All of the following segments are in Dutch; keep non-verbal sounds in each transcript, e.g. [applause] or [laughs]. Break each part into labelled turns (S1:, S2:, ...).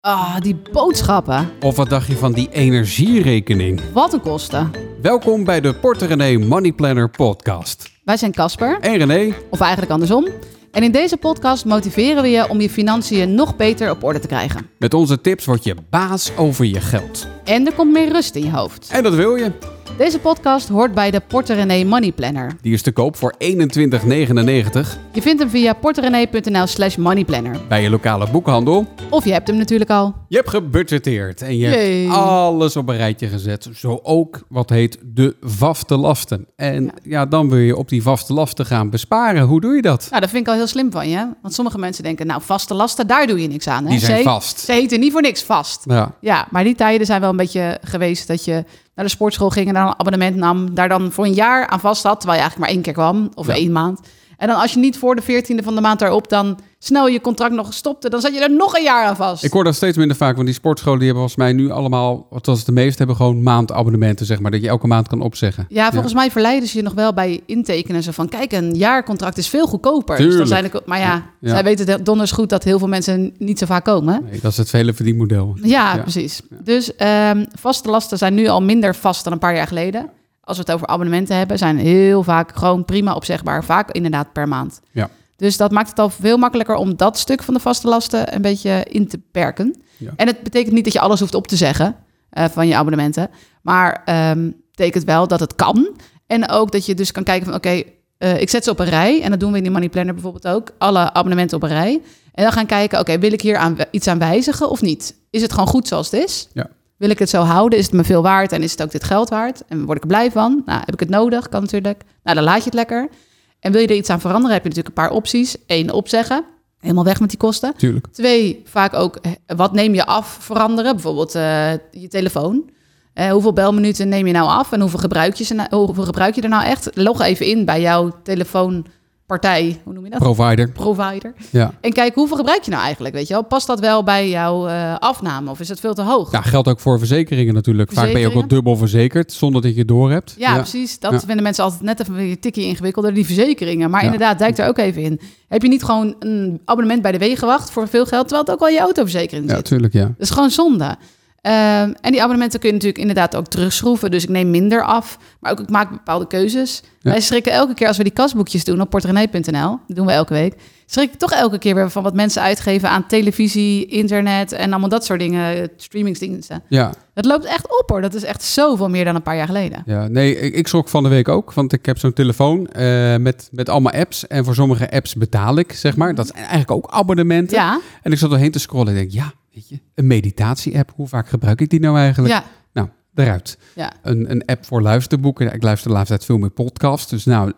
S1: Ah, die boodschappen.
S2: Of wat dacht je van die energierekening?
S1: Wat een kosten.
S2: Welkom bij de Porter René Money Planner podcast.
S1: Wij zijn Casper,
S2: En René,
S1: of eigenlijk andersom. En in deze podcast motiveren we je om je financiën nog beter op orde te krijgen.
S2: met onze tips word je baas over je geld.
S1: En er komt meer rust in je hoofd.
S2: En dat wil je.
S1: Deze podcast hoort bij de Porter René Money Planner.
S2: Die is te koop voor 21,99
S1: Je vindt hem via porterrené.nl slash moneyplanner.
S2: bij je lokale boekhandel.
S1: Of je hebt hem natuurlijk al.
S2: Je hebt gebudgeteerd en je
S1: Jee.
S2: hebt alles op een rijtje gezet. Zo ook wat heet de vaste lasten. En ja, dan wil je op die vaste lasten gaan besparen. Hoe doe je dat?
S1: Nou, dat vind ik al heel slim van je. Want sommige mensen denken, nou, vaste lasten, daar doe je niks aan. Hè?
S2: Die zijn
S1: Ze-
S2: vast.
S1: Ze heten niet voor niks vast.
S2: Ja.
S1: Ja, maar die tijden zijn wel een beetje geweest dat je naar de sportschool ging en daar een abonnement nam. Daar dan voor een jaar aan vast had, terwijl je eigenlijk maar één keer kwam of
S2: Ja.
S1: één maand. En dan als je niet voor de veertiende van de maand daarop dan snel je contract nog stopte, dan zat je er nog een jaar aan vast.
S2: Ik hoor dat steeds minder vaak, want die sportscholen die hebben volgens mij nu allemaal, althans de meeste hebben gewoon maandabonnementen, zeg maar, dat je elke maand kan opzeggen.
S1: Ja, volgens mij verleiden ze je nog wel bij intekenen. Zo van, kijk, een jaarcontract is veel goedkoper. Dus dan
S2: Tuurlijk.
S1: zijn ik, maar ja,
S2: Ja.
S1: zij weten donders goed dat heel veel mensen niet zo vaak komen.
S2: Nee, dat is het vele verdienmodel.
S1: Ja,
S2: Ja.
S1: precies. Dus ehm, vaste lasten zijn nu al minder vast dan een paar jaar geleden. Als we het over abonnementen hebben, zijn heel vaak gewoon prima opzegbaar. Vaak inderdaad per maand.
S2: Ja.
S1: Dus dat maakt het al veel makkelijker om dat stuk van de vaste lasten een beetje in te perken.
S2: Ja.
S1: En het betekent niet dat je alles hoeft op te zeggen eh, van je abonnementen. Maar ehm betekent wel dat het kan. En ook dat je dus kan kijken van oké, eh, ik zet ze op een rij. En dat doen we in die Money Planner bijvoorbeeld ook. Alle abonnementen op een rij. En dan gaan kijken, oké, wil ik hier aan, iets aan wijzigen of niet? Is het gewoon goed zoals het is?
S2: Ja.
S1: Wil ik het zo houden? Is het me veel waard? En is het ook dit geld waard? En word ik er blij van? Nou, heb ik het nodig? Kan natuurlijk. Nou, dan laat je het lekker. En wil je er iets aan veranderen, heb je natuurlijk een paar opties. Eén, opzeggen. Helemaal weg met die kosten.
S2: Tuurlijk.
S1: Twee, vaak ook eh, wat neem je af veranderen? Bijvoorbeeld eh, je telefoon. Eh, hoeveel belminuten neem je nou af en hoeveel gebruik je, ze nou- hoeveel gebruik je er nou echt? Log even in bij jouw telefoonpartij, hoe noem je dat?
S2: Provider.
S1: Provider.
S2: Ja.
S1: En kijk, hoeveel gebruik je nou eigenlijk? Weet je wel? Past dat wel bij jouw eh, afname of is dat veel te hoog?
S2: Ja, geldt ook voor verzekeringen natuurlijk. Vaak ben je ook wel
S1: Verzekeringen?
S2: dubbel verzekerd, zonder dat je het door hebt.
S1: Ja, precies. Dat
S2: Ja.
S1: vinden mensen altijd net even een tikje ingewikkelder, die verzekeringen. Maar
S2: Ja.
S1: inderdaad, duik er ook even in. Heb je niet gewoon een abonnement bij de Wegenwacht voor veel geld, terwijl het ook al je autoverzekering
S2: Ja,
S1: zit?
S2: tuurlijk, ja.
S1: Dat is gewoon zonde. Ehm, en die abonnementen kun je natuurlijk inderdaad ook terugschroeven. Dus ik neem minder af. Maar ook ik maak bepaalde keuzes.
S2: Ja.
S1: Wij schrikken elke keer als we die kasboekjes doen op portrené.nl. Dat doen we elke week. Schrik ik toch elke keer weer van wat mensen uitgeven aan televisie, internet en allemaal dat soort dingen. eh, Streamingsdiensten.
S2: Ja,
S1: Dat loopt echt op hoor. Dat is echt zoveel meer dan een paar jaar geleden.
S2: ja. nee, ik, ik schrok van de week ook, want ik heb zo'n telefoon eh, met, met allemaal apps. En voor sommige apps betaal ik, zeg maar. Dat zijn eigenlijk ook abonnementen.
S1: Ja,
S2: En ik zat doorheen te scrollen en denk, ja, weet je, een meditatie-app. Hoe vaak gebruik ik die nou eigenlijk?
S1: ja,
S2: Nou, eruit.
S1: ja.
S2: Een, een app voor luisterboeken. Ja, Ik luister de laatste tijd veel meer podcasts. Dus nou,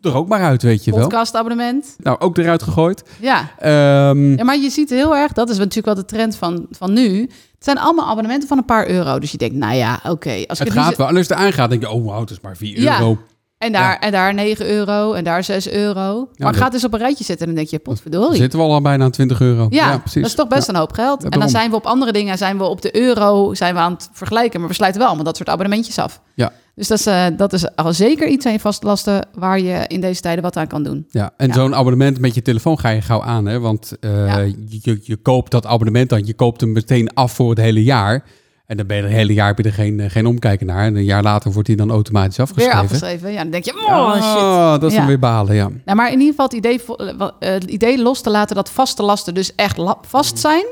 S2: er ook maar uit, weet je wel.
S1: Podcastabonnement.
S2: Nou, ook eruit gegooid.
S1: Ja.
S2: Ehm,
S1: Ja, maar je ziet heel erg, dat is natuurlijk wel de trend van, van nu. Het zijn allemaal abonnementen van een paar euro. Dus je denkt, nou ja, oké. als ik
S2: het
S1: nu
S2: gaat
S1: zo-
S2: wel. En als je het aangaat, denk je, oh wow, het is maar 4
S1: Ja.
S2: euro.
S1: En daar,
S2: Ja.
S1: en daar 9 euro en daar 6 euro. maar
S2: dat-
S1: gaat dus op een rijtje zitten en dan denk je,
S2: Dan
S1: potverdorie.
S2: zitten we al aan bijna aan 20 euro.
S1: Ja, dat is toch best een hoop geld. en dan
S2: daarom.
S1: zijn we op andere dingen, zijn we op de euro, zijn we aan het vergelijken. Maar we sluiten wel allemaal dat soort abonnementjes af.
S2: Ja.
S1: Dus dat is, eh, dat is al zeker iets aan je vastlasten waar je in deze tijden wat aan kan doen.
S2: Ja, en
S1: Ja.
S2: zo'n abonnement met je telefoon ga je gauw aan, hè? Want eh,
S1: Ja.
S2: je, je, je koopt dat abonnement dan, je koopt hem meteen af voor het hele jaar. En dan ben je het hele jaar heb je er geen, eh, geen omkijken naar. En een jaar later wordt die dan automatisch
S1: Weer
S2: afgeschreven.
S1: afgeschreven. Ja, dan denk je, oh shit.
S2: Oh, dat is
S1: Ja.
S2: dan weer balen, ja.
S1: Nou, maar in ieder geval het idee, vo- eh, wa- eh, het idee los te laten dat vaste lasten dus echt la- vast zijn.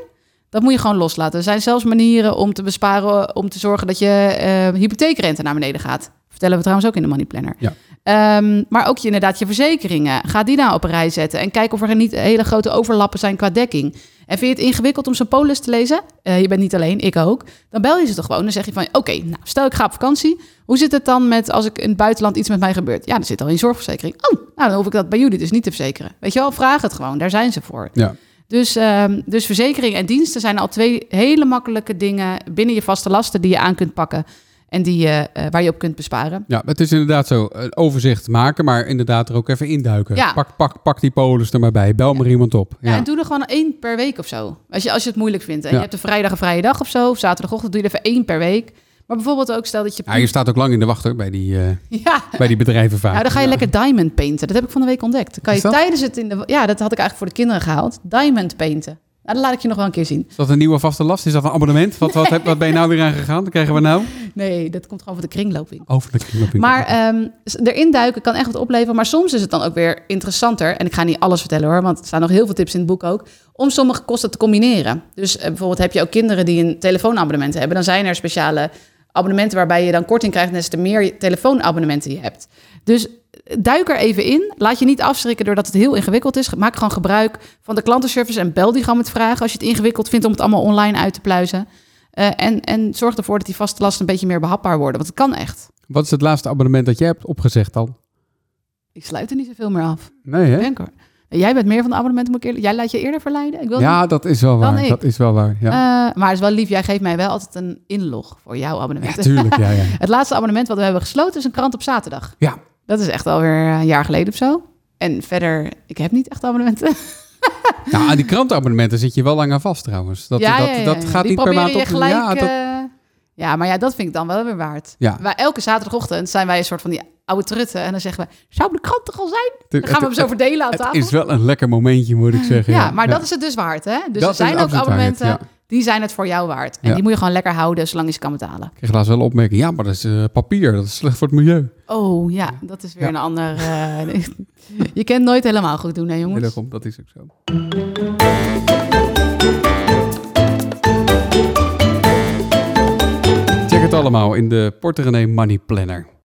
S1: Dat moet je gewoon loslaten. Er zijn zelfs manieren om te besparen, om te zorgen dat je eh, hypotheekrente naar beneden gaat. Vertellen we trouwens ook in de Money Planner.
S2: Ja.
S1: Ehm, maar ook je, inderdaad je verzekeringen. Ga die nou op een rij zetten en kijk of er niet hele grote overlappen zijn qua dekking. En vind je het ingewikkeld om zo'n polis te lezen? Eh, je bent niet alleen, ik ook. Dan bel je ze toch gewoon. Dan zeg je van, oké, nou, stel ik ga op vakantie. Hoe zit het dan met als ik in het buitenland iets met mij gebeurt? Ja, dan zit al in zorgverzekering. Oh, nou, dan hoef ik dat bij jullie dus niet te verzekeren. Weet je wel, vraag het gewoon. Daar zijn ze voor.
S2: Ja.
S1: Dus, ehm, dus verzekeringen en diensten zijn al twee hele makkelijke dingen binnen je vaste lasten die je aan kunt pakken. En die, je, eh, waar je op kunt besparen.
S2: Ja, het is inderdaad zo. Een overzicht maken, maar inderdaad er ook even induiken.
S1: Ja.
S2: Pak, pak, pak die polis er maar bij. Bel maar iemand op.
S1: Ja.
S2: Ja.
S1: en doe er gewoon één per week of zo. Als je, als je het moeilijk vindt. En
S2: Ja.
S1: je hebt een vrijdag een vrije dag of zo. Of zaterdagochtend doe je er even één per week. Maar bijvoorbeeld ook stel dat je...
S2: Ja, je staat ook lang in de wacht hoor, bij die, eh,
S1: [laughs] Ja.
S2: bij die bedrijven vaak.
S1: Nou, dan ga je
S2: Ja.
S1: lekker diamond painten. Dat heb ik van de week ontdekt. Dan kan
S2: Is
S1: je
S2: dat?
S1: tijdens het in de... Ja, dat had ik eigenlijk voor de kinderen gehaald. Diamond painten. Nou, dat laat ik je nog wel een keer zien.
S2: Is dat een nieuwe vaste last? Is dat een abonnement? Wat, wat, heb- wat ben je nou weer aangegaan? Dat krijgen we nou?
S1: Nee, dat komt gewoon van de kringloopwinkel.
S2: Over de kringloopwinkel.
S1: Maar ehm, s- erin duiken kan echt wat opleveren. Maar soms is het dan ook weer interessanter. En ik ga niet alles vertellen hoor, want er staan nog heel veel tips in het boek ook. Om sommige kosten te combineren. Dus eh, bijvoorbeeld heb je ook kinderen die een telefoonabonnement hebben. Dan zijn er speciale abonnementen waarbij je dan korting krijgt. Des te meer je telefoonabonnementen je hebt. Dus duik er even in. Laat je niet afschrikken doordat het heel ingewikkeld is. Maak gewoon gebruik van de klantenservice en bel die gewoon met vragen. Als je het ingewikkeld vindt om het allemaal online uit te pluizen. Eh, en, en zorg ervoor dat die vaste lasten een beetje meer behapbaar worden. Want het kan echt.
S2: Wat is het laatste abonnement dat jij hebt opgezegd dan?
S1: Ik sluit er niet zoveel meer af.
S2: Nee, hè?
S1: Denk hoor. Jij bent meer van de abonnementen, moet ik eerlijk... Jij laat je eerder verleiden. Ik wil niet-
S2: Ja, dat is wel
S1: Dan
S2: waar.
S1: ik.
S2: Dat is wel waar. Ja,
S1: Eh, maar het is wel lief, jij geeft mij wel altijd een inlog voor jouw
S2: ja
S1: abonnement.
S2: tuurlijk. Ja, ja.
S1: het laatste abonnement wat we hebben gesloten is een krant op zaterdag.
S2: Ja.
S1: Dat is echt alweer een jaar geleden of zo. En verder, ik heb niet echt abonnementen.
S2: Nou, aan die krantenabonnementen zit je wel lang aan vast
S1: [laughs]
S2: trouwens. Dat, dat, dat gaat
S1: Die
S2: niet per
S1: proberen
S2: maand
S1: je
S2: op.
S1: Gelijk,
S2: ja, dat-
S1: eh, ja, maar ja, dat vind ik dan wel weer waard.
S2: Ja.
S1: Wij, elke zaterdagochtend zijn wij een soort van die oude trutten. En dan zeggen we, zou de krant toch al zijn?
S2: het-
S1: Dan gaan we hem zo
S2: het-
S1: verdelen aan
S2: Het
S1: tafel.
S2: is wel een lekker momentje, moet ik zeggen.
S1: [laughs] Ja, maar dat is het dus waard, hè? Dus
S2: Dat
S1: er
S2: is
S1: zijn ook
S2: absoluut waard,
S1: abonnementen,
S2: ja.
S1: die zijn het voor jou waard. En
S2: Ja.
S1: die moet je gewoon lekker houden, zolang je ze kan betalen.
S2: Ik kreeg laatst wel opmerking. Ja, maar dat is eh, papier. Dat is slecht voor het milieu.
S1: Oh ja, dat is weer
S2: Ja.
S1: een ander... eh, [laughs] je kent nooit helemaal goed doen, hè
S2: Nee,
S1: jongens?
S2: daarom, dat is ook zo. Check het allemaal in de Porter René Money Planner.